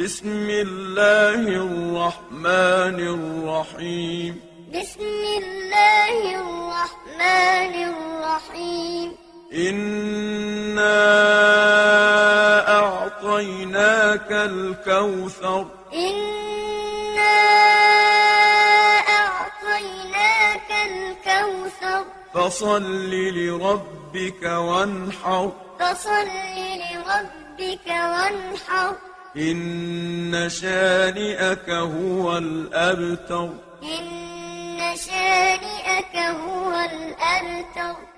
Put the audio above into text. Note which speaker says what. Speaker 1: بسم الله الرحمن الرحيم
Speaker 2: بسم الله الرحمن الرحيم
Speaker 1: إنا أعطيناك الكوثر
Speaker 2: إنا أعطيناك الكوثر
Speaker 1: فصل لربك وانحر
Speaker 2: فصل لربك وانحر
Speaker 1: إن شانئك هو الأبتر
Speaker 2: إن شانئك هو الأبتر